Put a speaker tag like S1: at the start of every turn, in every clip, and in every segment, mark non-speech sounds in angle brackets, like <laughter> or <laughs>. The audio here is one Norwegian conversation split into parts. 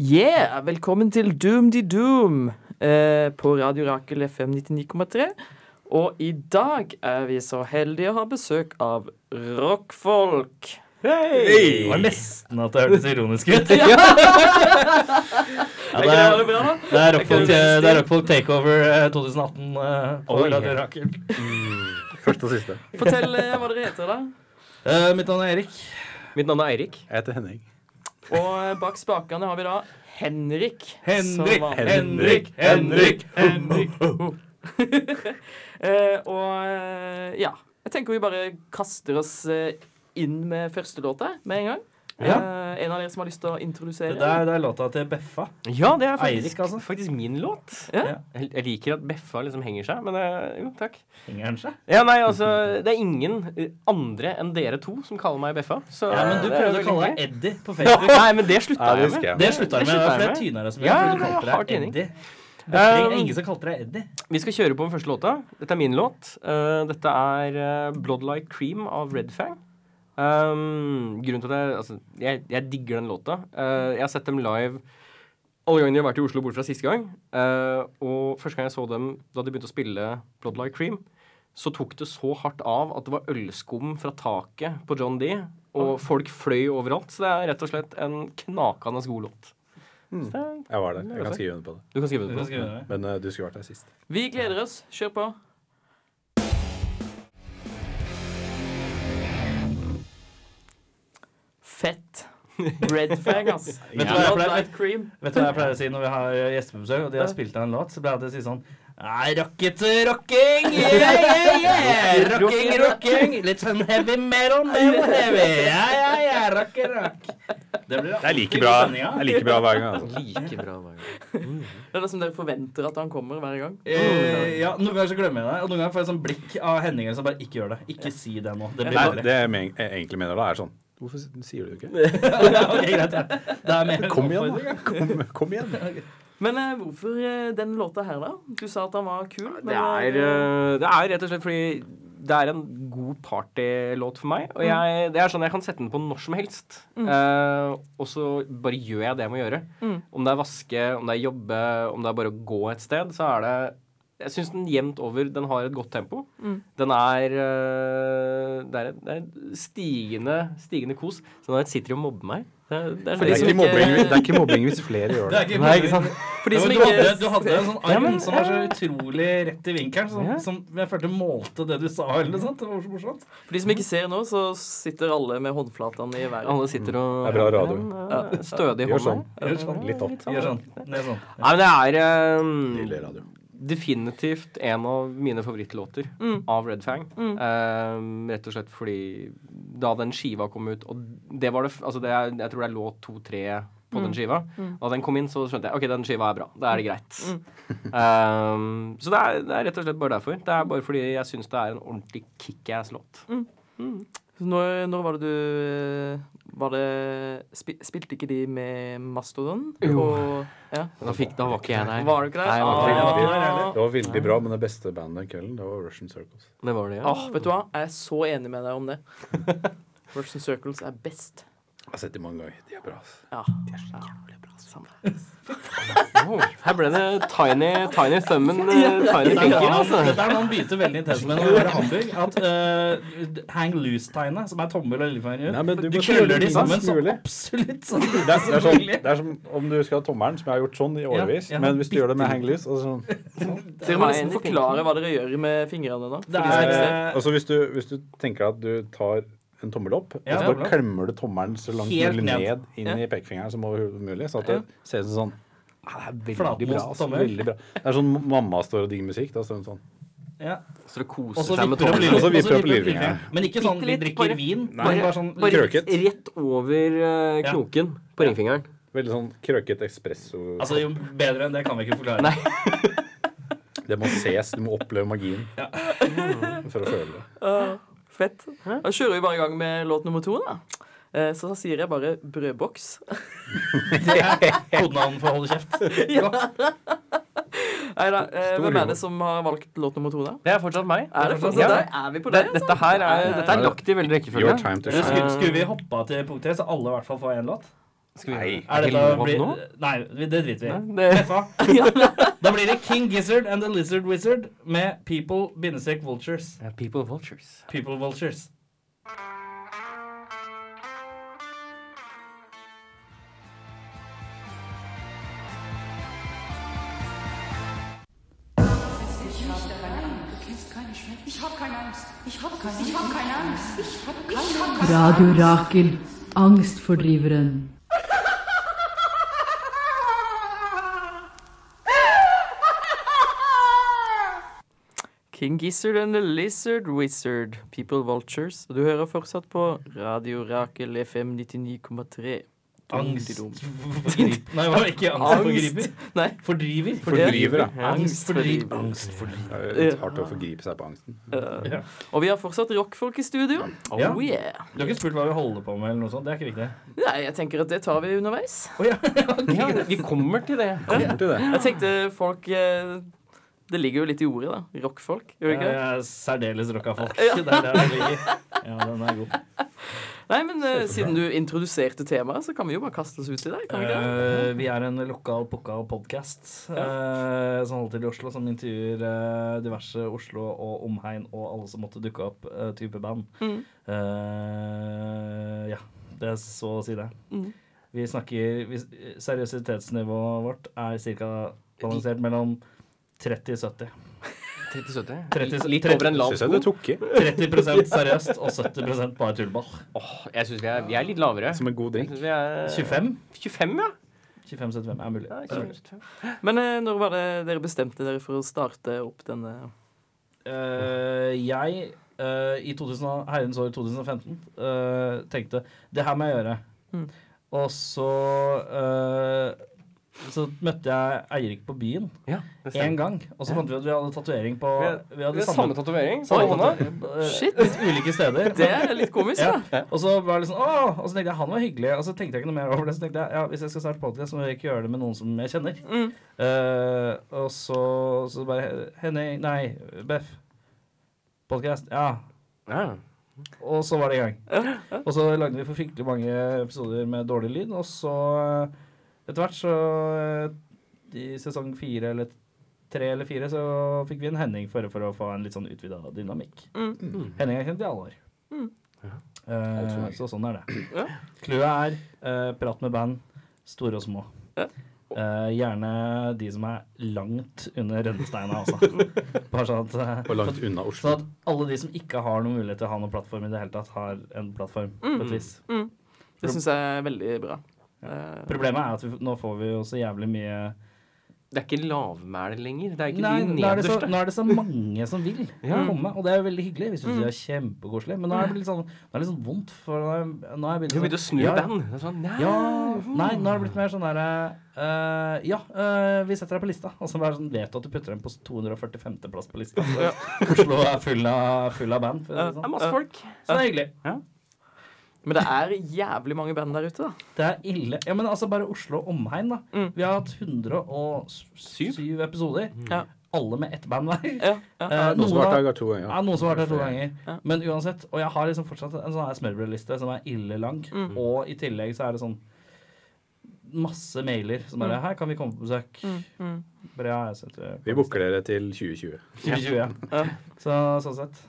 S1: Yeah! Velkommen til Doom de Doom eh, på Radio Rakel FM 99,3. Og i dag er vi så heldige å ha besøk av rockfolk.
S2: Det var nesten at det hørtes ironisk <laughs> ut.
S1: Ja.
S2: Ja,
S1: Er
S2: det,
S1: ikke det
S2: er,
S1: veldig bra, da?
S2: det er Rockfolk,
S1: Det er ikke
S2: det er Rockfolk Takeover eh, 2018 eh, på
S3: Oi.
S2: Radio Rakel.
S3: Første og siste.
S1: Fortell eh, hva dere heter, da.
S2: Eh, mitt navn er Erik.
S3: Mitt navn er Eirik. Jeg heter Henning.
S1: Og eh, bak spakene har vi da Henrik. som
S2: Henrik,
S1: vanlig.
S2: Henrik, Henrik,
S1: Henrik. Eh, og eh, ja. Jeg tenker vi bare kaster oss eh, inn med første låta med en gang. Eh, en av dere som har lyst til å introdusere?
S2: <laughs> Det der det er låta til Beffa.
S3: Ja, det er
S2: faktisk-
S3: faktisk min låt.
S1: Ja.
S3: Jeg jeg liker at Beffa liksom henger seg, men eh, jo, takk.
S2: Henger den seg?
S3: Ja, nei, altså, Det er ingen eh, andre enn dere to som kaller meg Beffa. Så,
S2: Ja, men du
S3: det er
S2: prøvde å
S3: veldig
S2: kalle
S3: hyggelig.
S2: deg Eddie på <laughs> Facebook.
S3: Nei, men det slutta
S4: Ja, det
S3: jeg
S4: husker
S3: med.
S4: jeg.
S2: Det slutta jeg med.
S3: Det
S2: Det var
S3: slutta jeg
S2: fordi jeg
S3: med.
S2: tyna deg så mye.
S3: Ja,
S2: fordi du
S3: det er hard
S2: kalte deg
S3: tyning.
S2: Eddie. Det
S3: Eh,
S2: er ingen som kalte deg Eddie.
S3: Vi skal kjøre på den første låta. Dette er min låt. Eh, dette er eh, Blood Like Cream av Red Fang. Um, grunnen til at jeg, altså, jeg, jeg digger den låta. Eh, jeg har sett dem live alle gangene de har vært i Oslo, bort fra siste gang. Eh, og første gang jeg så dem da de begynte å spille Blood Like Cream, så tok det så hardt av at det var ølskum fra taket på John D. Og folk fløy overalt. Så det er rett og slett en knakende god låt. Så det, er-
S4: Jeg var der. Jeg kan skrive under på det.
S3: du kan skrive
S2: Du
S3: det
S2: kan
S3: på.
S2: skrive det.
S4: Men eh, du skulle vært der sist.
S1: Vi gleder oss. Kjør på. Fett. Red fang,
S2: <laughs>
S1: ass.
S2: Vet du hva jeg
S1: Blood
S2: pleier-
S1: Light Cream.
S2: Vet du hva jeg pleier å si når vi har eh, gjestebesøk, og de har spilt av en låt? Så pleier jeg alltid å si sånn Nei, rocket, rocking, yeah, <laughs> yeah, yeah. Rocking, rocking. Litt sånn heavy metal, <laughs> metal heavy. Ja, ja, ja, rock, rock. Det, blir
S4: Det er like
S2: alltid
S4: bra,
S2: i sendinga.
S4: det er like bra hver gang. Altså.
S3: Like bra hver gang.
S1: Det er det som dere forventer at han kommer hver gang.
S2: Eh, ja, Noen ganger så glemmer jeg det, og noen ganger får jeg sånn blikk av Henning som bare ikke gjør det. Ikke si det nå. Det blir
S4: Nei,
S2: dårlig. <laughs>
S4: det jeg men- jeg egentlig mener da, er sånn Hvorfor s- sier du det ikke?
S2: Ok, greit. ja. Det er mer en
S4: Kom igjen,
S2: oppfordring,
S4: da. Kom, kom igjen.
S1: Men eh, hvorfor eh, den låta her, da? Du sa at han var kul.
S3: Det
S1: Men,
S3: er,
S1: eh,
S3: øh, det er rett og slett fordi det er en god partylåt for meg. Og jeg,
S1: Mm.
S3: det er sånn jeg kan sette den på når som helst. Eh, og så bare gjør jeg det jeg må gjøre.
S1: Mm.
S3: Om det er vaske, om det er jobbe, om det er bare å gå et sted, så er det Jeg syns den jevnt over Den har et godt tempo.
S1: Mm.
S3: Den er øh, Det er et, det er et stigende, stigende kos. Så når jeg sitter og mobber meg det, er- det er sånn-
S1: For de
S4: Det er
S1: som
S4: ikke
S1: ikke-
S4: mobbing, det er ikke mobbing hvis flere gjør
S2: Det
S4: det.
S2: er ikke
S3: Nei, ikke sant?
S1: For
S2: eh, Ja,
S1: de som
S2: men du,
S1: ikke
S2: hadde, du hadde en sånn arm
S3: Ja, men-
S2: som var så utrolig rett i vinkelen, som,
S3: Ja.
S2: som jeg følte målte det du sa. eller noe sånt. Det var så morsomt.
S1: For de som ikke ser nå, så sitter alle med håndflatene i været.
S3: Alle sitter og
S4: Det er bra radio.
S3: Ja, Stødig
S4: Gjør
S3: hånda.
S4: sånn.
S2: Gjør sånn.
S4: Litt opp.
S2: Gjør sånn. Ned sånn.
S3: Nei, men det er
S2: Mm.
S3: øh,
S4: Lille radio.
S3: definitivt en av mine favorittlåter av Red Fang. Eh, rett og slett fordi da den skiva kom ut, og det var det f- altså det er, Jeg tror det er låt to-tre på den skiva. Da den kom inn, så skjønte jeg ok, den skiva er bra. Da er det greit. <laughs> Eh, så det er, det er rett og slett bare derfor. Det er bare fordi jeg syns det er en ordentlig kickass-låt.
S1: Så Når, når var det du eh, var det, spi, Spilte ikke de med Mastodon? Jo. Og, ja.
S3: Da, fikk, da var ikke jeg der.
S1: Var du ikke der?
S3: Nei, jeg var
S4: Det
S3: ikke der.
S1: Ah.
S4: var- det var veldig bra, men det beste bandet den kvelden, det var Russian Circles.
S3: Det var det, ja.
S1: Åh, Ah, vet du hva? Jeg er så enig med deg om det. Russian Circles er best.
S4: Jeg har sett dem mange ganger. De er bra. ass.
S1: Ja. Det er så jævlig bra. Samme.
S3: Åh, her ble det tiny, tiny thummen, eh, tiny
S2: Dette er
S3: pinken,
S2: noe han-
S3: altså.
S2: Dette er noe han begynte veldig intenst med når han var i Hamburg. At eh, hang loose-tegnet, som er tommel og lillefinger,
S4: Nei, men du
S2: du
S4: må
S2: krøller
S4: krølle
S2: de
S4: minst
S2: sammen så
S4: mulig.
S2: absolutt sånn.
S4: Det er, det, er sånn, det er som om du skal ha tommelen, som jeg har gjort sånn i
S2: Ja,
S4: årevis.
S2: ja.
S4: Men hvis du gjør det med hang loose og sånn
S1: Dere må nesten forklare hva dere gjør med fingrene nå.
S2: Det
S1: for de som ikke ser.
S2: er eh,
S4: Altså hvis du, hvis du tenker at du tar en tommel opp,
S2: Ja,
S4: og så
S2: tommel
S4: bare
S2: opp.
S4: klemmer du tommelen så langt
S2: Helt
S4: mulig
S2: ned.
S4: ned inn
S1: Ja.
S4: i pekefingeren som overhodet mulig, så at det ser ut som sånn ah, Det er veldig bra,
S2: Flatmost
S4: altså,
S2: tommel.
S4: veldig bra. Det er sånn mamma står og digger musikk. Da står hun sånn.
S2: ja.
S3: Så det
S2: Og
S3: koser
S2: så
S3: seg med
S2: vipper opp
S3: tommelen.
S2: lille-
S4: Og så
S2: og så
S4: vipper opp
S2: vipper opp
S4: lillefingeren.
S2: lillefingeren. Men ikke sånn
S3: Bitte
S2: vi
S3: litt, bare-
S2: drikker vin.
S4: Nei.
S2: men Bare sånn
S3: Bare
S4: Krøket.
S3: Rett over eh,
S2: Ja.
S3: knoken på ringfingeren.
S4: Veldig sånn krøket espresso.
S2: Altså, jo bedre enn det kan vi ikke forklare. <laughs>
S3: Nei.
S4: Det må ses, du må oppleve
S2: <laughs>
S4: magien for å føle det.
S1: Åh, Fett. Da kjører vi bare i gang med låt nummer to, da. Eh, Så da sier jeg bare brødboks.
S2: Det er kodenavn for holde kjeft.
S1: Nei da. Eh,
S4: Stor
S1: hvem
S4: humor.
S1: er det som har valgt låt nummer to der?
S3: Det er fortsatt meg.
S1: Er det
S3: fortsatt
S1: fortsatt
S3: meg.
S1: deg? Er vi på det?
S3: Det, altså. dette her er, dette er lagt i veldig
S4: Your
S3: rekkefølge.
S4: time to
S2: Eller
S4: shine.
S1: Eh,
S2: skulle, skulle vi hoppa til punkt tre, så alle i hvert fall får én låt?
S3: Skal vi
S4: Nei.
S2: Er
S3: er
S2: dette
S3: det
S2: blir-
S3: nå?
S2: Nei, vi- det driter vi i.
S3: Nei, det-
S2: Treffa.
S1: <laughs>
S2: Da blir det King Gizzard and The Lizard Wizard med People bindestrek Vultures.
S3: Eh, People Vultures.
S2: People Vultures.
S5: Ich hab keine Angst. Ich hab keine, ich hab keine Angst. Ich hab keine Angst.
S6: Radio Rakel, angstfordriveren.
S1: King Gizzard and the Lizard Wizard, People Vultures. Du hører fortsatt på Radio Rakel FM 99,3.
S2: Angst.
S1: Dum, di,
S2: Nei, det var ikke
S1: dum.
S2: angst forgriper.
S1: Angst. Nei.
S2: Fordriver.
S4: Fordriver, da.
S1: Angst for
S2: Angstfordriver. Angstfordriver.
S4: Det er litt hardt å forgripe seg på angsten.
S2: Ja.
S1: Eh, Og vi har fortsatt rockfolk i studio. Oh
S2: Ja.
S1: yeah.
S2: Du har ikke spurt hva vi holder på med, eller noe sånt? Det er ikke riktig.
S1: Nei, jeg tenker at det tar vi underveis.
S3: Ja, vi kommer til det.
S4: Kommer til det.
S1: Jeg tenkte folk eh, Det ligger jo litt i ordet, da. Rockfolk. Gjør det ikke
S2: Jeg
S1: det?
S2: er særdeles rocka folk. Det er der det ligger. Ja, den er god.
S1: Nei, men eh, siden du introduserte temaet, så kan vi jo bare kaste oss ut i det. Kan vi ikke det?
S2: Eh, vi er en lokal pokal podcast eh, som holder til i Oslo, som intervjuer eh, diverse Oslo og omhegn og alle som måtte dukke opp, eh, type band.
S1: Mm.
S2: Eh, ja, det er så å si det.
S1: Mm.
S2: Vi snakker vi, Seriøsitetsnivået vårt er ca. balansert mellom 30-70.
S3: 30-70.
S2: 30
S3: Litt
S2: 30
S3: over en lav
S4: Syns jeg
S3: sko.
S4: du tok i.
S2: 30 seriøst og 70 bare tullball.
S3: Åh, jeg syns vi, er- vi er litt lavere.
S4: Som en god
S3: Jeg
S4: drink.
S3: synes vi er
S2: 25?
S3: 25, ja.
S2: 25-75 er mulig.
S3: Ja,
S2: Det er mulig.
S3: 25.
S1: Men eh, når var det dere bestemte dere for å starte opp denne
S2: Eh, jeg eh, i 2000, og- herrens år 2015 eh, tenkte det her må jeg gjøre.
S1: Mm.
S2: Og så eh, så møtte jeg Eirik på byen
S3: Ja, det
S2: én
S3: stemmer.
S2: gang. Og så fant vi ut at vi hadde tatovering på
S3: Vi
S2: Vi
S3: hadde-
S2: hadde
S3: Det er samme
S2: samme
S3: tatovering. Samme hånda.
S2: tatovering
S1: Shit.
S2: <laughs> ulike steder.
S1: Det er litt komisk, da.
S2: Eh, Ja. Og så var det liksom, Åh! Og så tenkte jeg han var hyggelig, og så tenkte jeg ikke noe mer over det. Så tenkte jeg ja, hvis jeg skal starte podcast, så må jeg ikke gjøre det med noen som jeg kjenner.
S1: Mm.
S2: Eh, og så, så bare Henning, nei, Beff. Podcast. Ja.
S3: Ja.
S2: Og så var det i gang. Og så lagde vi for fryktelig mange episoder med dårlig lyd, og så eh, etter hvert så eh, I sesong fire eller tre eller fire så fikk vi en Henning for, for å få en litt sånn utvida dynamikk.
S1: Mm.
S2: Henning er kjent i alle år. Eh,
S4: Mm. Alt for lenge.
S2: så sånn er det.
S1: Ja.
S2: Clouet er eh, prat med band, store og små.
S1: Ja.
S2: Eh, gjerne de som er langt under
S1: <laughs>
S2: rennesteina, altså. Bare sånn at eh,
S4: Og langt unna
S2: Sånn
S4: Oslo.
S2: at alle de som ikke har noen mulighet til å ha noen plattform i det hele tatt, har en plattform på et vis.
S1: Det syns jeg er veldig bra. Eh,
S2: Problemet er at vi, nå får vi jo så jævlig mye
S3: Det er ikke lavmæle lenger. Det er ikke
S2: Nei,
S3: de
S2: nå er, det så,
S3: nederste.
S2: nå er det så mange som vil
S3: <laughs> Ja. Mm.
S2: komme, og det er jo veldig hyggelig. Vi syns det er kjempekoselig, men nå er det litt sånn, nå er det litt sånn vondt, for nå er, nå er jeg
S3: Du begynte å snu
S2: ja,
S3: band. Det er sånn, nei.
S2: Ja, nei, nå har det blitt mer sånn derre eh, Ja, eh, vi setter deg på lista. Og så bare sånn, vet du at du putter dem på 245.-plass på lista. Oslo er full av, full av band. For å si
S3: Det
S2: det
S3: er
S2: sånn.
S3: masse folk.
S2: Så det er hyggelig.
S1: Men det er jævlig mange band der ute, da.
S2: Det er ille. Ja, men altså bare Oslo og omegn, da.
S1: Mm.
S2: Vi har hatt 107 episoder.
S1: Ja.
S2: Alle med ett band hver.
S1: <laughs> Ja, ja.
S2: Eh,
S4: Mm. Noen som
S2: noen,
S4: har vært
S2: har,
S4: der to ganger.
S2: ja, noen som har vært der to ganger.
S1: Ja.
S2: Men uansett. Og jeg har liksom fortsatt en sånn her smørbrødliste som er ille lang.
S1: Mm.
S4: Mm.
S2: Og i tillegg så er det sånn masse mailer som bare Her kan vi komme på besøk.
S1: mm.
S2: Bare, ja, jeg setter
S4: Vi booker dere til 2020.
S2: 2020, ja.
S1: Ja.
S2: <laughs> Så sånn sett.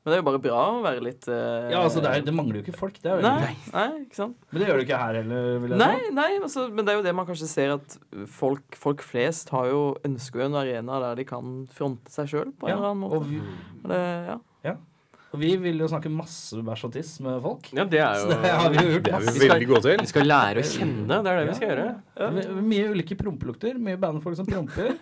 S1: Men det er jo bare bra å være litt eh,
S2: Ja, altså det, er, det mangler jo ikke folk. Det er jo
S1: Nei, nei, ikke sant?
S2: Men det gjør det ikke her heller, vil jeg
S1: Nei, nei altså, men det er jo det man kanskje ser at folk, folk flest har jo ønsker jo en arena der de kan fronte seg sjøl på en
S2: Ja,
S1: eller annen måte.
S2: Og vi,
S1: Og det, ja.
S2: og vi vil jo snakke masse bæsj og tiss med folk.
S3: Ja, det er
S2: <laughs> Så
S3: jo
S2: det har vi jo gjort
S4: Det er
S2: masse.
S4: vi veldig gode
S3: Vi
S4: til.
S3: skal lære å kjenne. Det er det vi skal gjøre.
S2: Det er Mye ulike prompelukter. Mye bandfolk som
S3: <laughs>
S2: promper.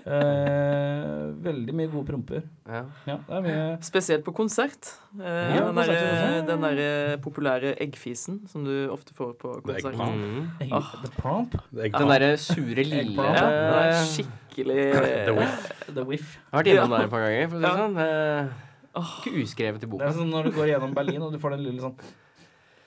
S2: Eh, veldig mye gode promper.
S3: Ja.
S2: Ja, det er mye
S1: Spesielt på konsert. Eh,
S2: Ja,
S1: den
S2: konsert
S1: derre
S2: også.
S1: den der populære eggfisen som du ofte får på
S4: Det er
S1: konsert.
S4: eggplant.
S3: Mm.
S2: egg,
S1: Ah.
S2: The promp,
S4: Det er
S3: Den
S4: ikke-
S3: derre sure lille
S1: Ja, den er
S3: Jeg
S1: skikkelig
S4: The Whiff.
S2: the whiff.
S3: har vært innom der et par ganger. For å si det
S1: Ja.
S3: sånn. Eh, Ikke uskrevet i
S2: Det er
S3: boka.
S1: sånn-
S2: sånn når du går gjennom Berlin og du får den lille sånn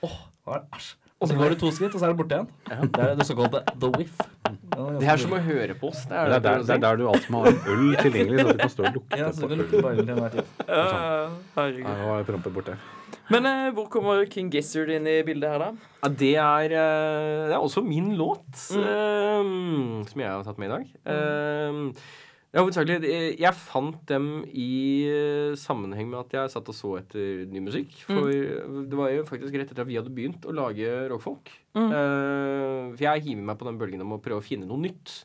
S2: Åh, hva er det? Æsj. Åh, Og så går du to skritt, og så er det borte igjen. Det er det såkalte the whiff.
S3: Det er som å høre på oss. Det er
S4: Det er, der, det er der du alltid må ha en øl tilgjengelig, så du kan stå og lukte
S2: Ja, så
S4: på
S2: du kan
S4: øl.
S2: lukte på ølen til enhver
S3: <laughs>
S2: tid.
S1: Ja, herregud.
S4: Nei, nå har jeg prompet bort det.
S1: Men eh, hvor kommer King Gizzard inn i bildet her, da?
S3: Ja, det er, eh, det er også min låt, eh, som jeg har tatt med i dag. Eh, ja, hovedsakelig, eh, jeg fant dem i eh, sammenheng med at jeg satt og så etter ny musikk. For det var jo faktisk rett etter at vi hadde begynt å lage rockfolk. Eh, for jeg hiver meg på den bølgen om å prøve å finne noe nytt.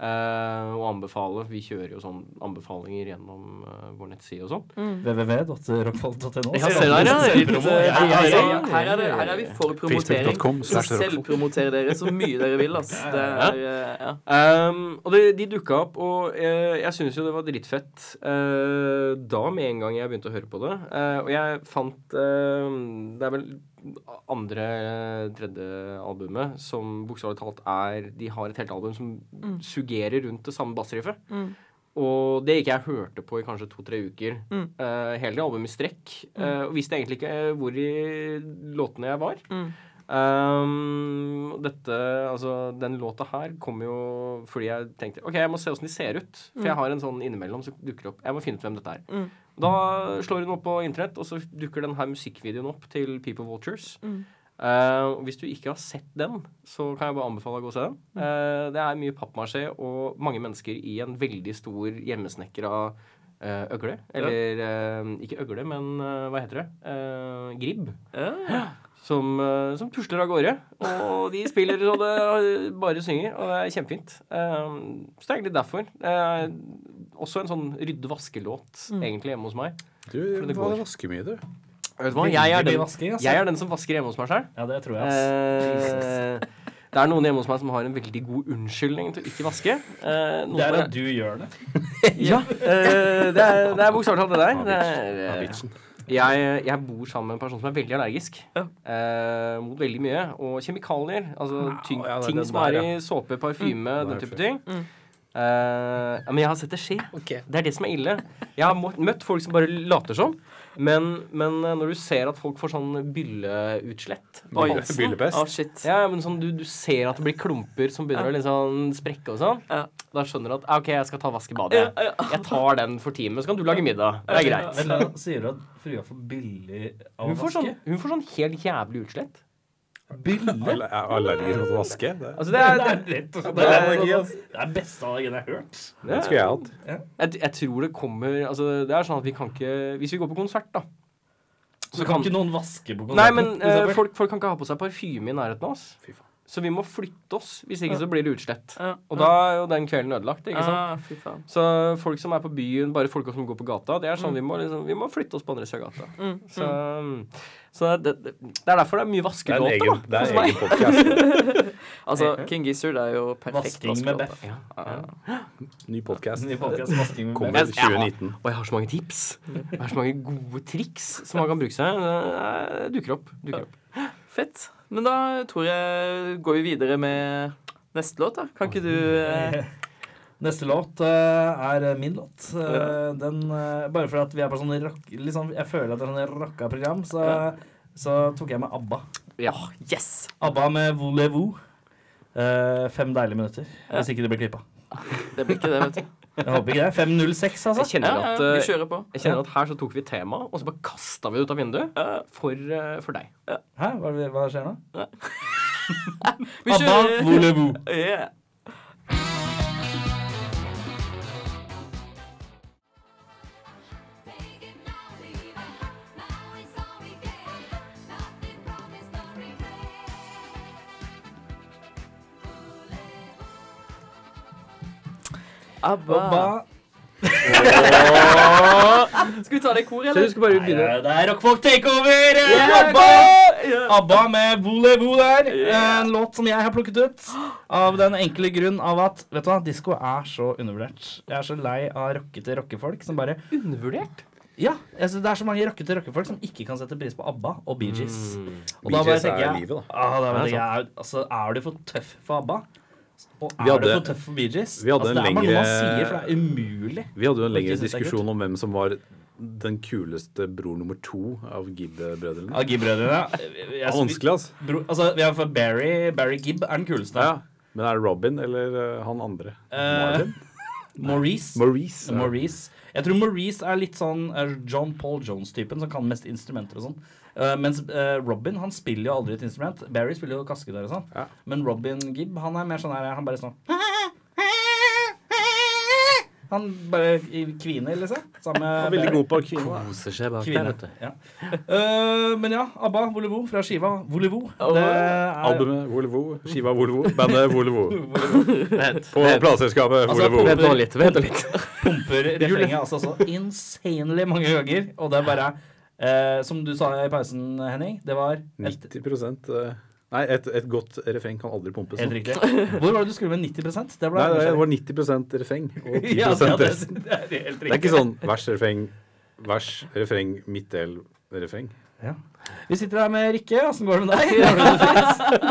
S3: eh, og anbefale. Vi kjører jo sånn anbefalinger gjennom eh, vår nettside og sånn.
S2: www.rockfall.no.
S3: Ja, se der, ja.
S1: Litt, eh,
S3: Ja, ja, ja, ja.
S1: altså, Her er det- her er vi for promotering.
S4: Facebook.com
S1: Så
S4: slash rockfolk.
S1: selvpromoter dere så mye dere vil, ass. Det er, eh, ja.
S3: Um, og det, de dukka opp, og eh, jeg syns jo det var dritfett eh, da med en gang jeg begynte å høre på det. Eh, og jeg fant eh, Det er vel andre, eh, tredje albumet som bokstavelig talt er De har et helt album som suggerer rundt det samme bassriffet. Og det gikk jeg og hørte på i kanskje to-tre uker. eh, hele det albumet i strekk. eh, og visste egentlig ikke eh, hvor i låtene jeg var. Um, dette, altså, den låta her kom jo fordi jeg tenkte OK, jeg må se åssen de ser ut. For jeg har en sånn innimellom som dukker opp. Jeg må finne ut hvem dette er. Da slår hun opp på internett, og så dukker den her musikkvideoen opp til People Vultures. Uh, og hvis du ikke har sett den, så kan jeg bare anbefale deg å gå og se den. Uh, det er mye pappmasjé og mange mennesker i en veldig stor hjemmesnekra uh, øgle. Eller uh, ikke øgle, men uh, hva heter det? Uh, gribb
S1: Ja.
S3: som, eh, som pusler av gårde. Og de spiller så det eh, bare synger, og det er kjempefint. Um, så det er egentlig derfor. Eh, også en sånn rydde-vaske-låt egentlig hjemme hos meg.
S4: Du
S3: det
S4: hva,
S3: går.
S4: vasker mye, du.
S3: Vet du hva? Jeg
S2: Veldig
S3: er
S2: mye
S3: den,
S2: vasking, altså.
S3: jeg er den som vasker hjemme hos meg sjøl.
S2: <laughs> Ja, det tror jeg, ass.
S3: Eh, det er noen hjemme hos meg som har en veldig god unnskyldning til å ikke vaske. Eh, noen
S2: Det er
S3: som
S2: at du gjør det.
S3: ja, eh, det er, det er bokstavelig talt det der. Det er,
S4: Ja,
S3: eh,
S4: vitsen.
S3: Jeg, jeg bor sammen med en person som er veldig allergisk eh, mot veldig mye. Og kjemikalier. Altså
S4: ja, Mm.
S3: tyng,
S4: det er
S3: ting
S4: det
S3: som
S4: der,
S3: er i såpe, parfyme,
S4: Det er
S3: den type
S4: fett.
S3: ting. Eh, ja, men jeg har sett det skje. Det er det som er ille. Jeg har må- møtt folk som bare later som. Men, men eh, når du ser at folk får sånn bylleutslett på
S1: Oi.
S3: halsen
S4: Byllepest.
S1: Å, shit.
S3: ja, men sånn, du, du ser at det blir klumper som begynner å liksom sprekke og sånn.
S1: Ja.
S3: Da skjønner du at ah, OK, jeg skal ta vask i badet. Jeg tar den for teamet, så kan du lage middag. Det er greit.
S2: Men da sier du at frua får billig av å
S3: Hun får, sånn,
S2: vaske?
S3: hun får sånn helt jævlig utslett.
S2: sånn <laughs> Billig?
S4: Alle- er Allergisk mot å vaske. Det,
S3: Altså, det er,
S2: <laughs> Det
S3: det,
S2: er rett og slett det er
S3: allergi,
S2: sånn- det er beste allergien jeg har hørt.
S4: det skulle jeg hatt.
S3: jeg, jeg tror det kommer Altså, det er sånn at vi kan ikke Hvis vi går på konsert, da
S2: Så kan ikke noen vaske på konserten?
S3: Nei, men
S2: for eksempel?
S3: eh, folk, folk kan ikke ha på seg parfyme i nærheten av oss. Så vi må flytte oss. Hvis ikke så blir det utslett.
S1: Ja.
S3: Og da er jo den kvelden ødelagt, ikke sant?
S1: Ah, fy faen.
S3: Så folk som er på byen, bare folk som går på gata, det er sånn vi må, liksom, vi må flytte oss på andre sida av gata. Så, så det, det, det er derfor det er mye
S4: Det er en
S3: vaskelåter, da.
S4: egen, det er
S3: hos
S4: en
S3: meg.
S4: egen podcast.
S1: Altså, King Gizzard er jo perfekt.
S2: Vasking med
S1: vaskelåte.
S2: Beff.
S4: Ny podcast.
S2: Ny podcast, vasking med
S4: Kommer
S2: Beff.
S4: i 2019.
S3: Og jeg har så mange tips. Jeg har så mange gode triks som man kan bruke seg. Det dukker opp. Dukker opp.
S1: Fett. Men da tror jeg går vi videre med neste låt, da. Kan ikke du eh,
S2: Neste låt eh, er min låt. Eh, Den, eh, bare fordi at vi er på sånn rock, liksom, Jeg føler at det er sånn rocka program, så, så tok jeg med ABBA.
S3: Ja.
S1: Yes!
S2: ABBA med Voulez-vous. Eh, fem deilige minutter. Hvis ikke det blir klippa.
S1: Det blir ikke det, vet du.
S2: Jeg håper ikke det. 5.06, altså.
S3: Jeg kjenner
S1: Ja,
S3: at
S1: ja, vi
S3: eh,
S1: kjører på.
S3: jeg kjenner at her så tok vi temaet, og så bare kasta vi det ut av vinduet for, eh, for deg.
S2: Hæ? Hva, hva skjer nå?
S1: Vi
S2: ABBA,
S1: kjører.
S2: Voulez-vous.
S1: <laughs> Yeah.
S2: ABBA.
S1: Abba. Skal vi ta det i kor,
S3: Så
S1: eller?
S3: du skal bare
S2: Nei, det er- det er rockfolk takeover! Yeah, ABBA! ABBA med Volevo der. Eh, En låt som jeg har plukket ut. Av den enkle grunn av at vet du hva, disko er så undervurdert. Jeg er så lei av rockete rockefolk som bare
S3: undervurdert.
S2: Ja, jeg synes det er så mange rockete rockefolk som ikke kan sette pris på ABBA og Bee Gees. Og da bare
S4: BJs
S2: tenker
S4: Mm. er
S2: jeg
S4: livet, da.
S2: ah, da
S3: Ja,
S2: vet jeg er, altså, er du for tøff for ABBA? Og er
S4: Vi hadde-
S2: du for tøff for Bee Gees?
S4: vi hadde
S2: altså,
S4: en
S2: det er bare noe man
S4: lengre-
S2: sier, for det er umulig.
S4: Vi hadde jo en
S2: Ikke
S4: lengre
S2: synes det er
S4: diskusjon om hvem som var den kuleste bror nummer to av Gibbe-brødrene. Det
S2: Gibb-brødrene. Jeg-
S4: er vanskelig, altså.
S2: Bro, altså, vi har fått Barry. Barry Gibb er den kuleste.
S4: Ja. Men er det Robin eller eh, han andre?
S2: Eh,
S4: Marvin?
S2: Maurice.
S4: Maurice. ja.
S2: Maurice. Jeg tror Maurice er litt sånn eh, John Paul Jones-typen, som kan mest instrumenter og sånn. Eh, mens eh, Robin han spiller jo aldri et instrument. Barry spiller jo kaske der og sånn.
S4: Ja.
S2: Men Robin Gibb han er mer sånn her Han bare sånn Han bare kviner, liksom. Sammen
S4: Han er
S2: med
S4: Veldig
S2: Barry.
S4: god på kino.
S3: Koser seg bak
S2: Kvine. Ja. Eh, men ja, ABBA, Volevo fra skiva Volevo.
S1: Og-
S2: Det er-
S4: Albumet Volevo, skiva Volevo,
S2: <laughs>
S4: bandet Volevo.
S3: Vent,
S4: På plateselskapet
S2: Altså,
S4: Volevo.
S3: vent nå litt. Vent nå litt.
S4: <laughs>
S2: pumper refrenget altså så insanely mange ganger. Og det er bare eh, Som du sa i pausen, Henning, det var et,
S4: 90 eh, Nei, et, et godt refreng kan aldri pumpes.
S2: Helt
S4: nå.
S2: riktig. Hvor var det du skulle med 90 Det ble
S4: Nei, det var 90 refreng
S2: <laughs>
S4: og 10
S2: ja, det, det,
S4: resten.
S2: det er helt
S4: Det er
S2: riktig.
S4: ikke sånn vers, refreng, vers, refreng, midtdel, refreng.
S2: Vi sitter her med Rikke. Åssen går det med deg? Har du det fint?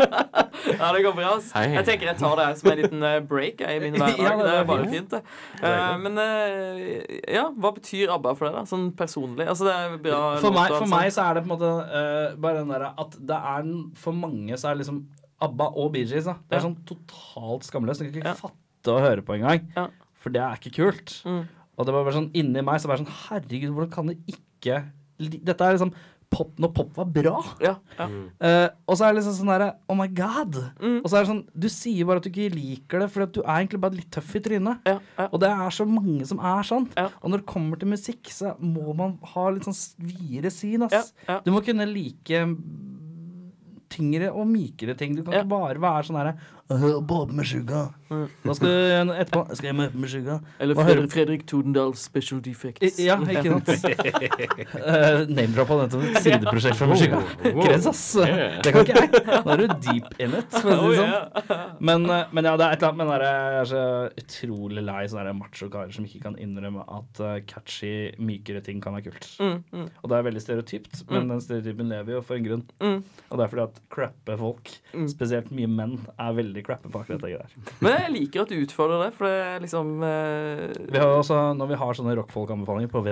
S1: <laughs>
S4: <laughs>
S1: Ja, det går bra. ass.
S3: Hei.
S1: Jeg tenker jeg tar det her som en liten eh, break jeg, i min hverdag.
S2: Ja, det er
S1: det er bare
S2: fint.
S1: fint, det. Eh, men eh, ja, hva betyr ABBA for deg, da? Sånn personlig? Altså, det er bra
S2: For meg,
S1: låter,
S2: for
S1: altså.
S2: meg så er det på en måte eh, bare den derre at det er en- For mange så er liksom ABBA og Bee Gees da. Det er
S1: Ja.
S2: sånn totalt skamløst. Jeg kan
S1: Ja.
S2: ikke fatte og høre på engang.
S1: Ja.
S2: For det er ikke kult.
S1: Mm.
S2: Og det var bare sånn inni meg så var det sånn Herregud, hvordan kan du ikke li- Dette er liksom pop når pop var bra.
S1: Ja, Mm. ja.
S2: Eh, og så er det liksom sånn derre Oh my god.
S1: Mm.
S2: Og så er det sånn Du sier bare at du ikke liker det fordi at du er egentlig bare litt tøff i trynet.
S1: Ja, ja.
S2: Og det er så mange som er sånn.
S1: Ja.
S2: Og når det kommer til musikk, så må man ha litt sånn videre syn, ass.
S1: Ja, ja.
S2: Du må kunne like mm, tyngre og mykere ting. Du kan
S1: Ja. Mm.
S2: ikke bare være sånn herre Bob med suga. Da skal du etterpå Skal jeg møte med suga?
S1: Eller
S2: Hva hører-
S1: Fredrik, Fredrik Todendal Special Defects.
S2: I- Ja, ikke
S1: <laughs>
S2: sant? uh, Name-droppa nettopp et sideprosjekt fra Musikka. Kreds, ass. Det kan ikke jeg. Da er du deep in it, for å si det sånn. Men, eh, men ja, det er et eller annet med den der, Jeg er så utrolig lei sånne der macho-karer som ikke kan innrømme at eh, catchy, mykere ting kan være kult.
S1: Mm.
S2: Og det er veldig stereotypt, men den stereotypen lever jo for en grunn. Og det er fordi at crappe folk, spesielt mye menn, er veldig crappe på akkurat det der.
S1: Men jeg liker at du utfordrer det, for det er liksom eh,
S2: Vi har jo også, når vi har sånne rockfolk-anbefalinger på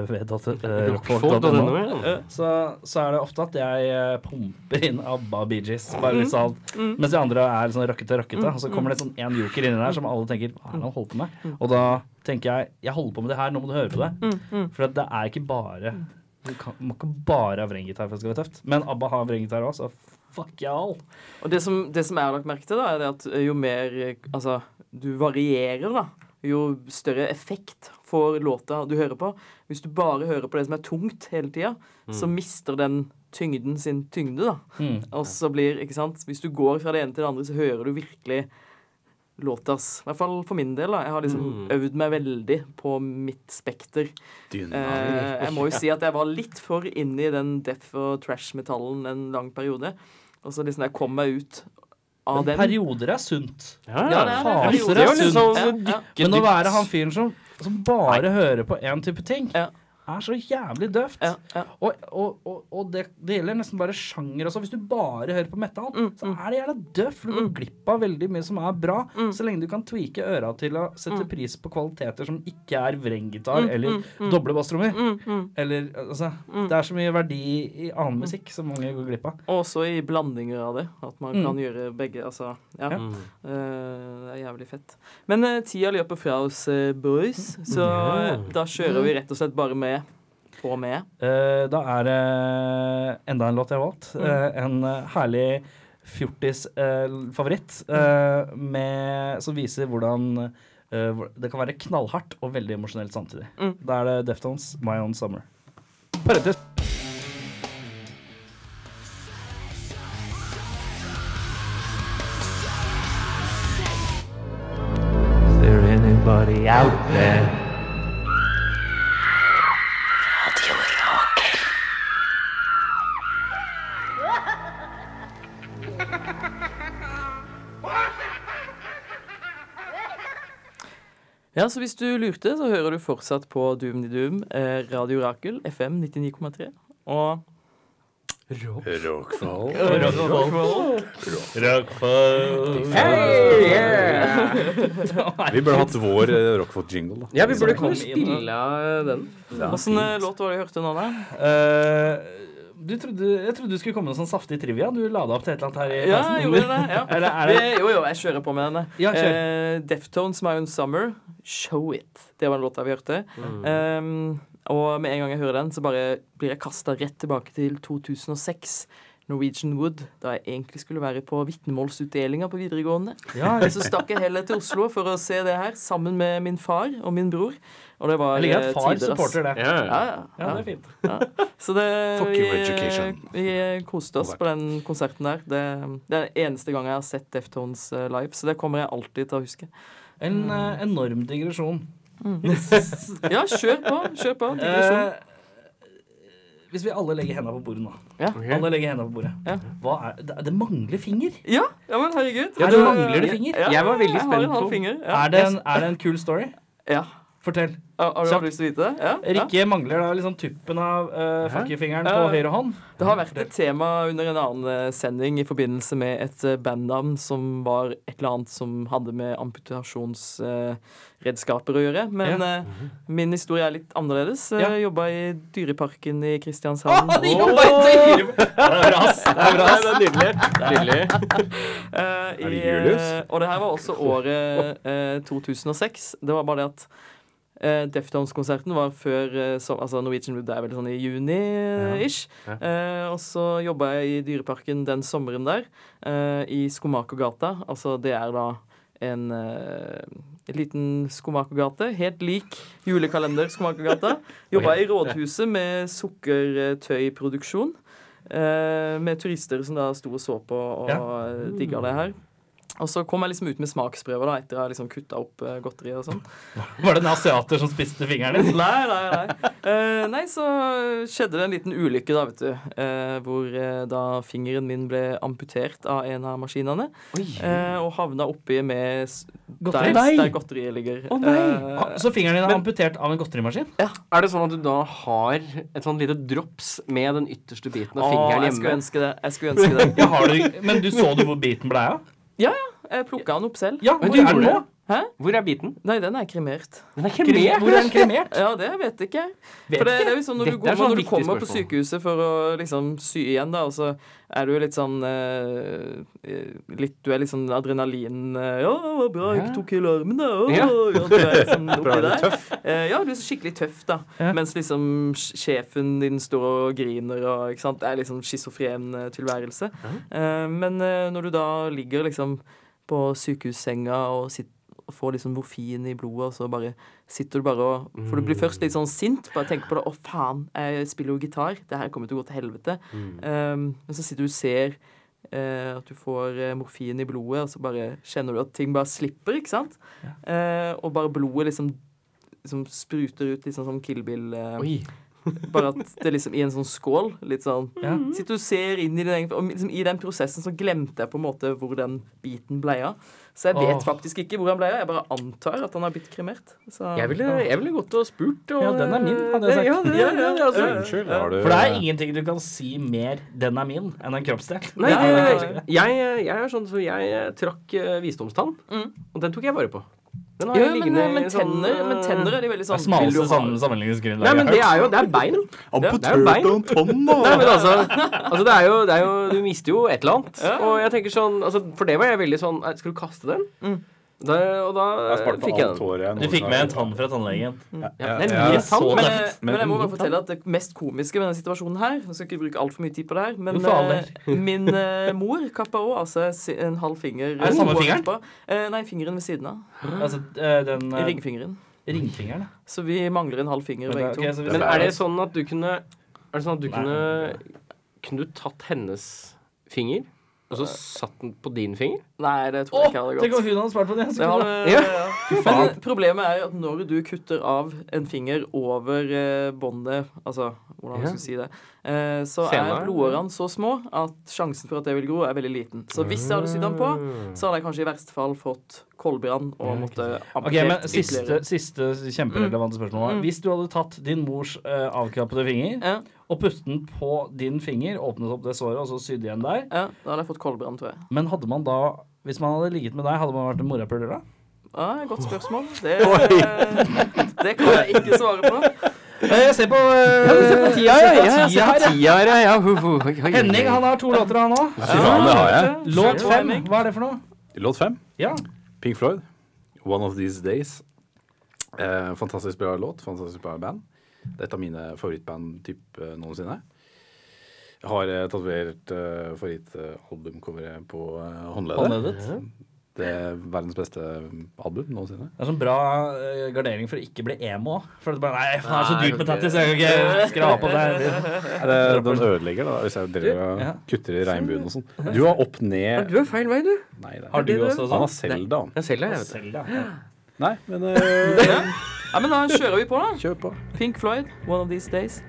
S2: eh, www.rockfolk.no
S3: Folk.no, ja.
S2: så, så er det ofte at jeg eh, pumper inn ABBA og Bee Gees. Bare
S1: Mm.
S2: litt sånn, Mens de andre er litt sånn rakkete, rakkete. Og så kommer det sånn en joker inni der som alle tenker Hva er det han holder på
S1: Mm.
S2: med? Og da tenker jeg jeg holder på med det her, nå må du høre på det.
S1: mm.
S2: For at det er ikke bare Du kan, må ikke bare ha vrengitar for at det skal være tøft. Men ABBA har vrengitar òg, så fuck y'all.
S1: Og det som, det som jeg har lagt merke til, da, er det at jo mer eh, Altså, du varierer, da. Jo større effekt får låta du hører på. Hvis du bare hører på det som er tungt hele tida, så mister den tyngden sin tyngde, da.
S2: Mm.
S1: Og så blir, ikke sant Hvis du går fra det ene til det andre, så hører du virkelig låtas. I hvert fall for min del. da Jeg har liksom øvd meg veldig på mitt spekter. Eh, jeg må jo si at jeg var litt for inne i den death og trash-metallen en lang periode. Og så liksom jeg kom meg ut av den.
S2: Perioder er sunt.
S1: Ja, det
S3: ja.
S1: er
S2: Faser
S1: perioder.
S2: er
S1: Det er jo
S2: sunt.
S1: liksom-
S3: Ja,
S1: ja, ja.
S2: Men å være han fyren som, som bare hører på én type ting,
S1: Ja.
S2: er så jævlig døvt.
S1: Ja, ja.
S2: Og, og, og, og det, det gjelder nesten bare sjanger også. Hvis du bare hører på metal, så er det jævla døvt. For du går glipp av veldig mye som er bra, så lenge du kan tweake øra til å sette pris på kvaliteter som ikke er vrenggitar eller doble basstrommer. Eller altså Det er så mye verdi i annen musikk som mange går glipp av.
S1: Og også i blandinger av det. At man kan gjøre begge. Altså, Mm. ja.
S2: Ja.
S3: Mm.
S1: Eh, det er jævlig fett. Men eh, tida løper fra oss, eh, boys. Så eh, da kjører vi rett og slett bare med på med.
S2: Eh, da er det enda en låt jeg har valgt.
S1: Mm.
S2: Eh, en eh, herlig eh, fjortis-favoritt
S1: Mm.
S2: eh, som viser hvordan eh, hvor- det kan være knallhardt og veldig emosjonelt samtidig.
S1: Mm.
S2: Da er det Deftones, 'My Own Summer'. Parentis.
S7: Is there anybody out there?
S1: Ja, så hvis du lurte, så hører du fortsatt på Doom Doom, eh, Radio Rakel, FM 99,3. Og
S4: Rockfall.
S3: Hey, yeah!
S4: Vi burde hatt vår eh, Rockfall-jingle. da.
S3: Ja, vi burde
S2: Kom
S3: kunne
S2: inn, da.
S3: spille av den.
S1: Åssen låt var det du hørte nå, da?
S2: Eh, du trodde, jeg trodde du skulle komme med sånn saftig trivia. Du lada opp til et eller annet her i
S1: Ja,
S2: pausen.
S1: jeg gjorde det. Ja.
S2: Eller er det
S1: Det, jo, jo, jeg kjører på med denne.
S2: <laughs> Ja, kjør.
S1: Eh, Deftones, My Own Summer, Show It. Det var en låt vi hørte.
S3: Mm.
S2: Mm.
S1: Um, og med en gang jeg hører den, så bare blir jeg kasta rett tilbake til 2006. Norwegian Wood, da jeg egentlig skulle være på vitnemålsutdelinga på videregående.
S2: ja,
S1: Men så stakk jeg heller til Oslo for å se det her, sammen med min far og min bror. Og det var
S2: Jeg liker
S1: eh,
S2: at far
S1: tider, ass.
S2: supporter det.
S3: Ja,
S1: Ja, ja,
S2: Ja,
S1: ja.
S2: det er fint.
S1: Så det,
S4: Fuck
S1: vi,
S4: your education.
S1: vi eh, koste oss på den konserten der. Det, det er den eneste gang jeg har sett Deftones eh, live, så det kommer jeg alltid til å huske.
S2: En eh, enorm digresjon. Mm.
S1: <laughs> Ja, kjør på. kjør på, digresjon.
S2: Eh, hvis vi alle legger hendene på bordet nå
S3: Ok.
S2: Alle legger hendene på bordet.
S1: Ja.
S2: Hva er, det, det mangler finger.
S1: Ja, ja, men herregud.
S2: Ja,
S1: Er
S2: du mangler det finger.
S1: Ja,
S3: Jeg var veldig
S1: jeg har
S3: spent
S1: en halv
S3: på
S1: finger. Ja.
S2: Er, det en, er det en kul story?
S1: ja.
S2: Fortell.
S1: Har har
S2: Kjapt.
S1: du lyst til å vite det? Ja.
S2: Rikke mangler da liksom tuppen av uh, fuckerfingeren på
S1: Ja.
S2: høyre hånd.
S1: Det har vært et tema under en annen eh, sending i forbindelse med et eh, bandnavn som var et eller annet som hadde med amputasjonsredskaper å gjøre. Men
S2: Ja.
S1: eh, min historie er litt annerledes.
S2: Ja.
S1: Jeg jobba i Dyreparken i Kristiansand.
S3: Nydelig.
S1: Eh, i,
S4: Er det Julius?
S1: eh, og det her var også året eh, 2006. Det var bare det at eh, Deftones-konserten var før eh, som- altså Norwegian Wood er vel sånn i juni-ish. Eh, og så jobba jeg i Dyreparken den sommeren der, eh, i Skomakergata. Altså det er da en eh, en liten Skomakergate, helt lik julekalender Skomakergata. Jobba i rådhuset med sukkertøyproduksjon. Eh, med turister som da sto og så på og
S2: Ja.
S1: eh, digga det her. Og så kom jeg liksom ut med smaksprøver da, etter jeg har liksom kutta opp eh, godteri og sånn.
S2: Var det en asiater som spiste fingeren din?
S1: Nei, nei, nei. Eh, nei, så skjedde det en liten ulykke, da, vet du. Eh, hvor eh, da fingeren min ble amputert av en av maskinene. Eh, og havna oppi med s-
S2: Godteri?
S1: Der, der godteriet ligger. Eh, Å
S2: Ah, Så fingeren din er amputert av en godterimaskin?
S3: <laughs> Er det sånn at du da har et sånn lite drops med den ytterste biten av fingeren
S1: jeg skulle
S3: hjemme?
S1: ønske det. Jeg skulle ønske
S2: <laughs>
S1: det.
S2: Ja, har du, men du så du hvor biten ble av?
S1: Ja, ja. Jeg plukka den opp selv.
S2: Ja,
S3: Men
S2: hvor
S3: du
S2: er den
S3: gjorde
S2: nå?
S3: Hvor er biten?
S1: Nei, den er kremert.
S3: Den er
S2: Hvor er
S3: kremert!
S2: den kremert?
S1: Ja, det vet ikke jeg.
S2: Vet
S1: For det,
S2: ikke.
S1: det er jo sånn når du,
S3: Dette
S1: går,
S3: er
S1: når
S3: sånn
S1: du
S3: viktig
S1: kommer på
S3: spørsmål.
S1: sykehuset for å liksom sy igjen, da, og så er du jo litt sånn eh, eh, litt, Du er litt sånn adrenalin eh, 'Ja, det var bra jeg ikke tok hele armen, da.' Å,
S3: Ja.
S1: ja. du er liksom
S4: Bra,
S1: oppi
S4: du er
S1: der.
S4: tøff.
S1: Eh, ja, du er så skikkelig tøff, da.
S2: Ja.
S1: Mens liksom sj- sjefen din står og griner og ikke sant? Det er liksom schizofren eh, tilværelse. Eh, men eh, når du da ligger liksom på sykehussenga og sitter og får liksom morfin i blodet, og så bare sitter du bare og For du blir først litt sånn sint. Bare tenker på det. 'Å, faen, jeg spiller jo gitar. Det her kommer til å gå til helvete.'
S3: Mm.
S1: Eh, men så sitter du og ser eh, at du får eh, morfin i blodet, og så bare kjenner du at ting bare slipper, ikke sant? Eh, og bare blodet liksom liksom spruter ut litt sånn som Kill Bill. Eh,
S3: Oi.
S1: bare at det liksom i en sånn skål. Litt sånn
S2: Ja.
S1: Sitter og ser inn i den, og liksom, i den prosessen så glemte jeg på en måte hvor den biten ble av. Så jeg vet
S2: Åh.
S1: faktisk ikke hvor han ble av. Jeg bare antar at han har blitt kremert. Så
S3: Jeg ville, jeg ville gått og spurt. Og,
S2: Ja, den er min, hadde jeg sagt.
S3: Ja, det, ja, ja, altså.
S4: Unnskyld, har du
S2: For det er ingenting du kan si mer 'den er min' enn en kroppsdel.
S3: Nei,
S1: Ja,
S2: det er
S3: det,
S2: kanskje ikke det.
S3: jeg, jeg er sånn så jeg eh, trakk eh, visdomstann, og den tok jeg vare på. Den
S1: ja,
S3: jeg
S1: men,
S3: liggende
S1: men,
S3: i sånn,
S1: tenner,
S3: eh,
S1: men tenner er de veldig
S2: Det
S1: sånn
S2: er
S1: vil du ha-
S2: smaleste sammen- sammenligningsgrunnlaget.
S3: Nei, men det
S2: jeg har hørt.
S3: er jo det er bein. Det er jo
S4: Amputert
S3: bein.
S4: av en tann, da!
S1: sånn-
S3: Nei, men altså, altså det, er jo, det er jo Du mister jo et eller annet.
S1: Ja.
S3: Og jeg tenker sånn altså, For det var jeg veldig sånn eh, Skal du kaste den? Da, og da eh,
S4: Jeg har spart på
S3: fikk jeg
S4: alt
S3: den.
S4: håret. jeg
S2: Du fikk
S4: noensinne
S2: med
S4: har-
S2: en tann fra tannlegen.
S4: Ja,
S3: Den
S4: ja.
S3: blir
S2: så
S3: tann, men-
S2: tøft.
S1: Men jeg må
S4: Men-
S1: bare fortelle at det mest komiske med denne situasjonen her Jeg skal ikke bruke altfor mye tid på det her, men
S2: Jo, faen,
S1: eh,
S2: <laughs>
S1: min eh, mor kappa òg altså si- en halv finger.
S2: det samme
S1: håret
S2: fingeren?
S1: på. Eh, nei, fingeren ved siden av.
S2: Altså, eh, den eh,
S1: Ringfingeren.
S2: ringfingeren. ja.
S1: Så vi mangler en halv finger
S2: Men
S1: begge
S2: det-
S1: to.
S2: ok, så hvis-
S3: Men er det sånn at du kunne Er det sånn at du
S2: Nei.
S3: kunne Kunne du tatt hennes finger, og så satt den på din finger?
S1: Nei, det tror
S2: Åh,
S1: jeg ikke hadde
S2: Tenk om
S1: gått.
S2: hun hadde svart på det!
S1: Det
S2: Så
S1: hadde,
S2: kunne,
S1: ja.
S4: Fy
S1: Men
S4: faen.
S1: problemet er jo at når du kutter av en finger over eh, båndet Altså, hvordan
S3: Ja.
S1: skal jeg si det eh, Så
S3: Senere.
S1: er blodårene så små at sjansen for at det vil gro, er veldig liten. Så hvis jeg hadde sydd den på, så hadde jeg kanskje i verste fall fått koldbrann og måtte
S2: Ok,
S1: amputert
S2: men siste,
S1: ytterligere.
S2: siste kjemperelevante spørsmål. her.
S1: Mm.
S2: Hvis du hadde tatt din mors eh, avkappede finger
S1: Ja,
S2: og puttet den på din finger, åpnet opp det såret og så sydd igjen der,
S1: ja, da hadde jeg fått koldbrann, tror jeg.
S2: men hadde man da hvis man hadde ligget med deg, hadde man vært en morapuler da?
S1: Ja, godt spørsmål. Det, eh, det kan jeg ikke svare på.
S2: Jeg ser på, eh,
S3: Tia, ja, ja, ja,
S2: Tia her, ja.
S3: Tia, ja, ja. hu, hu, hu, hu.
S2: Henning han har to låter, han òg.
S4: Fy faen, det har jeg.
S2: Låt fem. Hva er det for noe?
S4: Låt fem.
S2: Ja.
S4: Pink Floyd, One of These Days. Eh, fantastisk bra låt, fantastisk bra band. Det er et av mine favorittband typ, eh, noensinne. Jeg har eh, tatovert eh, favorittalbumcoveret på eh, håndleddet.
S2: Håndledet.
S4: Det er verdens beste eh, album noensinne.
S2: Det er sånn bra eh, gardering for å ikke bli emo. For det er bare, nei, faen, det er så
S1: Nei,
S2: dyrt
S1: ok.
S2: med tattis, jeg kan ikke
S4: <laughs>
S2: skrape opp det.
S4: Nei, det, den ødelegger, da, hvis jeg driver og
S2: ja.
S4: kutter i regnbuen og sånn. Du har opp ned
S3: Du er feil vei, du.
S4: Nei, det er
S2: Har du også
S4: Han
S2: sånn?
S4: har Selda, han.
S3: Jeg selger deg, jeg vet det.
S2: Selv, ja.
S4: Nei,
S1: <laughs>
S4: men eh,
S1: Ja, men da kjører vi på, da.
S4: kjør på.
S1: Pink Floyd, One of These Days.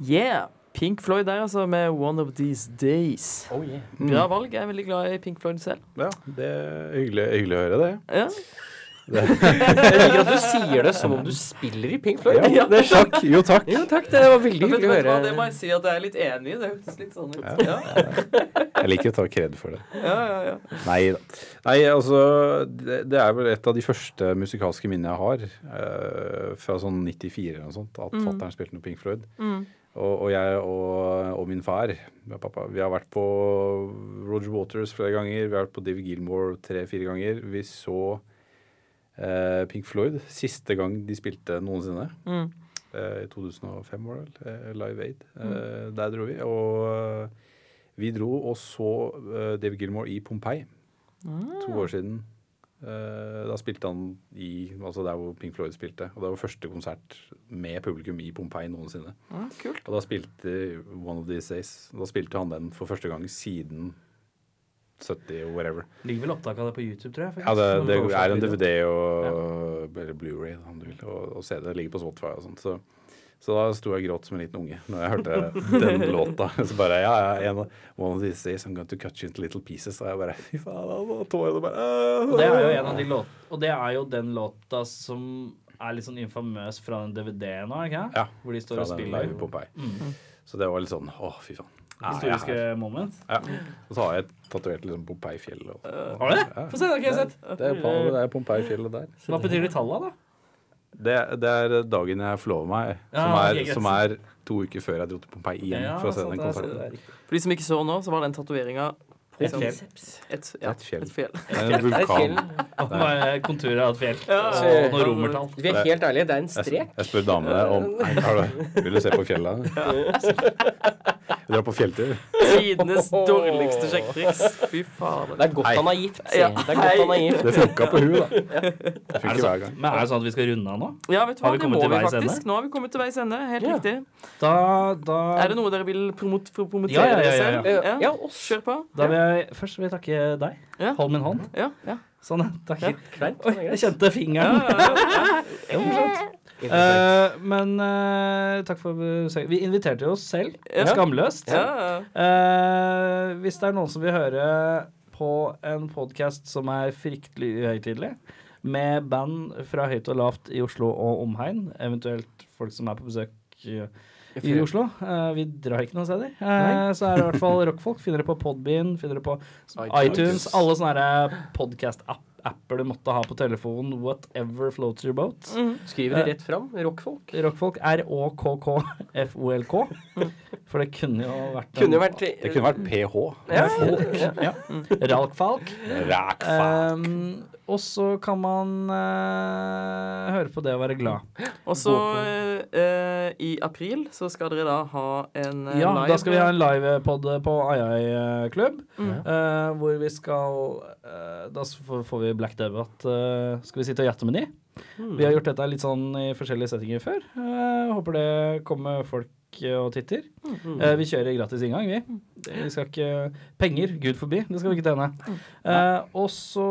S1: Yeah! Pink Floyd der, altså, med One of These Days.
S3: Oh, yeah.
S1: Bra valg. Jeg er veldig glad i Pink Floyd selv.
S4: Ja, det er hyggelig, hyggelig å høre det.
S1: Ja.
S3: Jeg liker at du sier det som om du spiller i Pink Floyd.
S4: Ja, takk. Jo, takk.
S3: Jo, takk. Det var veldig
S1: Men vet du
S3: hyggelig å
S1: hva,
S3: høre.
S1: det må jeg si at jeg er litt enig i. Det hørtes litt sånn ut. Ja,
S4: Jeg liker å ta kred for det.
S1: ja, ja, ja.
S4: Nei da. Nei, altså det, det er vel et av de første musikalske minnene jeg har. eh, fra sånn 94 eller noe sånt. At
S1: Mm.
S4: fatter'n spilte noe Pink Floyd. Og, og jeg og, og min far, ja, pappa, vi har vært på Roger Waters flere ganger. Vi har vært på David Gilmore tre-fire ganger. Vi så eh, Pink Floyd siste gang de spilte noensinne.
S1: Mm.
S4: Eh, I 2005 var det vel. eh, Live Aid. Eh, Der dro vi. Og eh, vi dro og så eh, David Gilmore i Pompeii to år siden. Eh, Da spilte han i, altså der hvor Pink Floyd spilte. Og det var første konsert med publikum i Pompeii noensinne.
S1: ja kult.
S4: Og da spilte One of These Days Da spilte han den for første gang siden 70 og whatever.
S2: Ligger vel opptak av det på YouTube, tror jeg. faktisk.
S4: Ja, det, det
S2: Noen
S4: er en
S2: overslag-
S4: DVD og eller Blu-ray om du vil, og, og CD. Det ligger på Spotify og sånt. Så, så da sto jeg og gråt som en liten unge når jeg
S2: <laughs>
S4: hørte den låta. <laughs> Så bare ja, ja, en, One of these days I'm going to cut you into little pieces. Og jeg bare fy faen, og tårene bare
S2: Og det er jo en av de låt, og det er jo den låta som er litt sånn infamøs fra den DVD-en nå, ikke sant?
S4: Ja,
S2: Hvor de står
S4: fra
S2: og
S4: den
S2: spiller.
S4: live i Pompeii. Så det var litt sånn å, fy faen. Er jeg
S2: Mm. Historiske
S4: her?
S2: moment.
S4: Ja. Og så har jeg tatovert liksom Pompeii-fjell. og-
S2: Har du det? Få se, det har ikke jeg sett.
S4: Det er, det er Pompeii-fjellet der.
S2: Hva betyr de talla, da?
S4: Det, det er dagen jeg flår meg, som
S2: Ja,
S4: er,
S2: ok, greit.
S4: som er to uker før jeg dro til Pompeii igjen for å se
S2: sant, sånn det er-
S4: den
S2: det
S4: konserten.
S2: er riktig.
S1: For de som ikke så nå, så var den tatoveringa
S2: Et fjell.
S1: Et, ja,
S4: Et fjell.
S1: et fjell.
S4: Det er en vulkan.
S2: Og bare konturer av et fjell.
S1: Ja.
S2: Og noe romertall.
S3: Vi er helt ærlige, det er en
S4: Jeg,
S3: strek.
S4: jeg spør damene <laughs> om «Hei, har du, Vil du se på fjellet. Vi drar på fjelltur.
S1: Tidenes dårligste sjekketriks. Fy fader.
S3: Det er godt han er gift. sier
S1: Ja.
S3: jeg. Det er godt han er gift.
S4: Det funka på hun, da. Det
S2: Er
S4: funker
S2: det
S4: hver
S2: sånn,
S4: gang.
S2: men er det sånn at vi skal runde av nå?
S1: Ja, vet du hva,
S2: Har vi
S1: det
S2: kommet
S1: må
S2: til
S1: vi
S2: veis ende?
S1: faktisk. Nå har vi kommet til veis ende. Helt
S3: Ja.
S1: riktig.
S2: Da, da
S1: Er det noe dere vil promot for
S2: Ja,
S1: promotere
S2: ja, ja,
S1: dere
S2: ja,
S1: selv?
S3: Ja, oss.
S1: Kjør på.
S2: Da vil jeg, først vil jeg takke deg.
S1: Ja.
S2: Hold min hånd.
S1: Ja, ja.
S2: Sånn, ja. takk.
S1: Ja.
S3: Kleint.
S2: Oi, jeg kjente fingeren. Det var morsomt. Eh, men eh, takk for besøket. Vi inviterte jo oss selv.
S1: Ja.
S2: Skamløst.
S1: ja. ja.
S2: Eh, hvis det er noen som vil høre på en podkast som er fryktelig uhøytidelig, med band fra høyt og lavt i Oslo og omegn, eventuelt folk som er på besøk eh, i Oslo. Eh, vi drar ikke noen steder. Eh, <laughs> så er det i hvert fall rockfolk. Finner det på Podbean, finner det på iTunes.
S4: iTunes.
S2: Alle sånne podcast-apper. apper eh, du måtte ha på telefonen. Whatever floats your boat.
S3: Skriver det rett fram. Rockfolk.
S2: Rockfolk. R-Å-K-K-F-O-L-K. For det kunne jo vært en-
S3: Kunne jo vært
S4: Det kunne vært PH.
S2: Ja, ja, ja. Ralk Falk.
S4: Ræk, faen.
S2: Um, og så kan man eh, høre på det å være glad.
S1: Og så eh, i april så skal dere da ha en eh,
S2: Ja,
S1: live
S2: da skal vi ha en livepod eh, på Ayay-klubb. hvor vi skal eh, Da s- får får vi Black Debate. eh, skal vi sitte og gjette med de? Vi har gjort dette litt sånn i forskjellige settinger før. Eh, håper det kommer folk eh, og titter. Eh, vi kjører gratis inngang, vi. Vi skal ikke Penger, gud forbi. Det skal vi ikke tjene. Eh, og så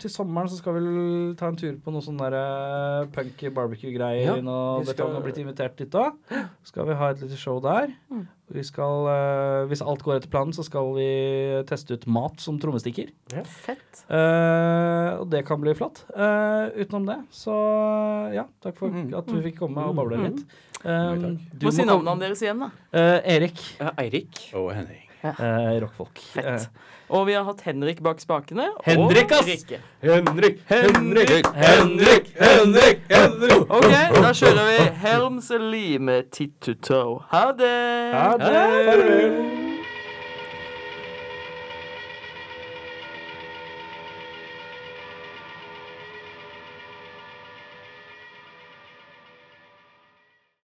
S2: til sommeren så skal vi vel ta en tur på noe sånn der eh, punk barbecue-greier. Ja,
S3: Ja,
S2: og
S3: vi
S2: dette har
S3: skal-
S2: blitt invitert dit da. Skal vi ha et lite show der. Vi skal, eh, hvis alt går etter planen, så skal vi teste ut mat som trommestikker.
S1: Fett.
S2: Eh, og det kan bli flott. Eh, utenom det, så eh, ja, takk for
S1: Mm.
S2: at vi fikk komme og bable litt. Eh,
S4: takk.
S2: du
S1: Må si
S2: komme-
S1: navnene deres igjen, da.
S2: Eh, Erik.
S3: Eirik.
S4: Og Henning.
S2: Eh, rockfolk.
S1: Fett. Og vi har hatt Henrik bak spakene. og
S2: Henrik, ass!
S1: Rikke.
S4: Henrik,
S1: Henrik,
S4: Henrik, Henrik, Henrik!
S1: OK, da kjører vi Helms Lime Tittutoe. Ha det!
S2: Eh, farvel.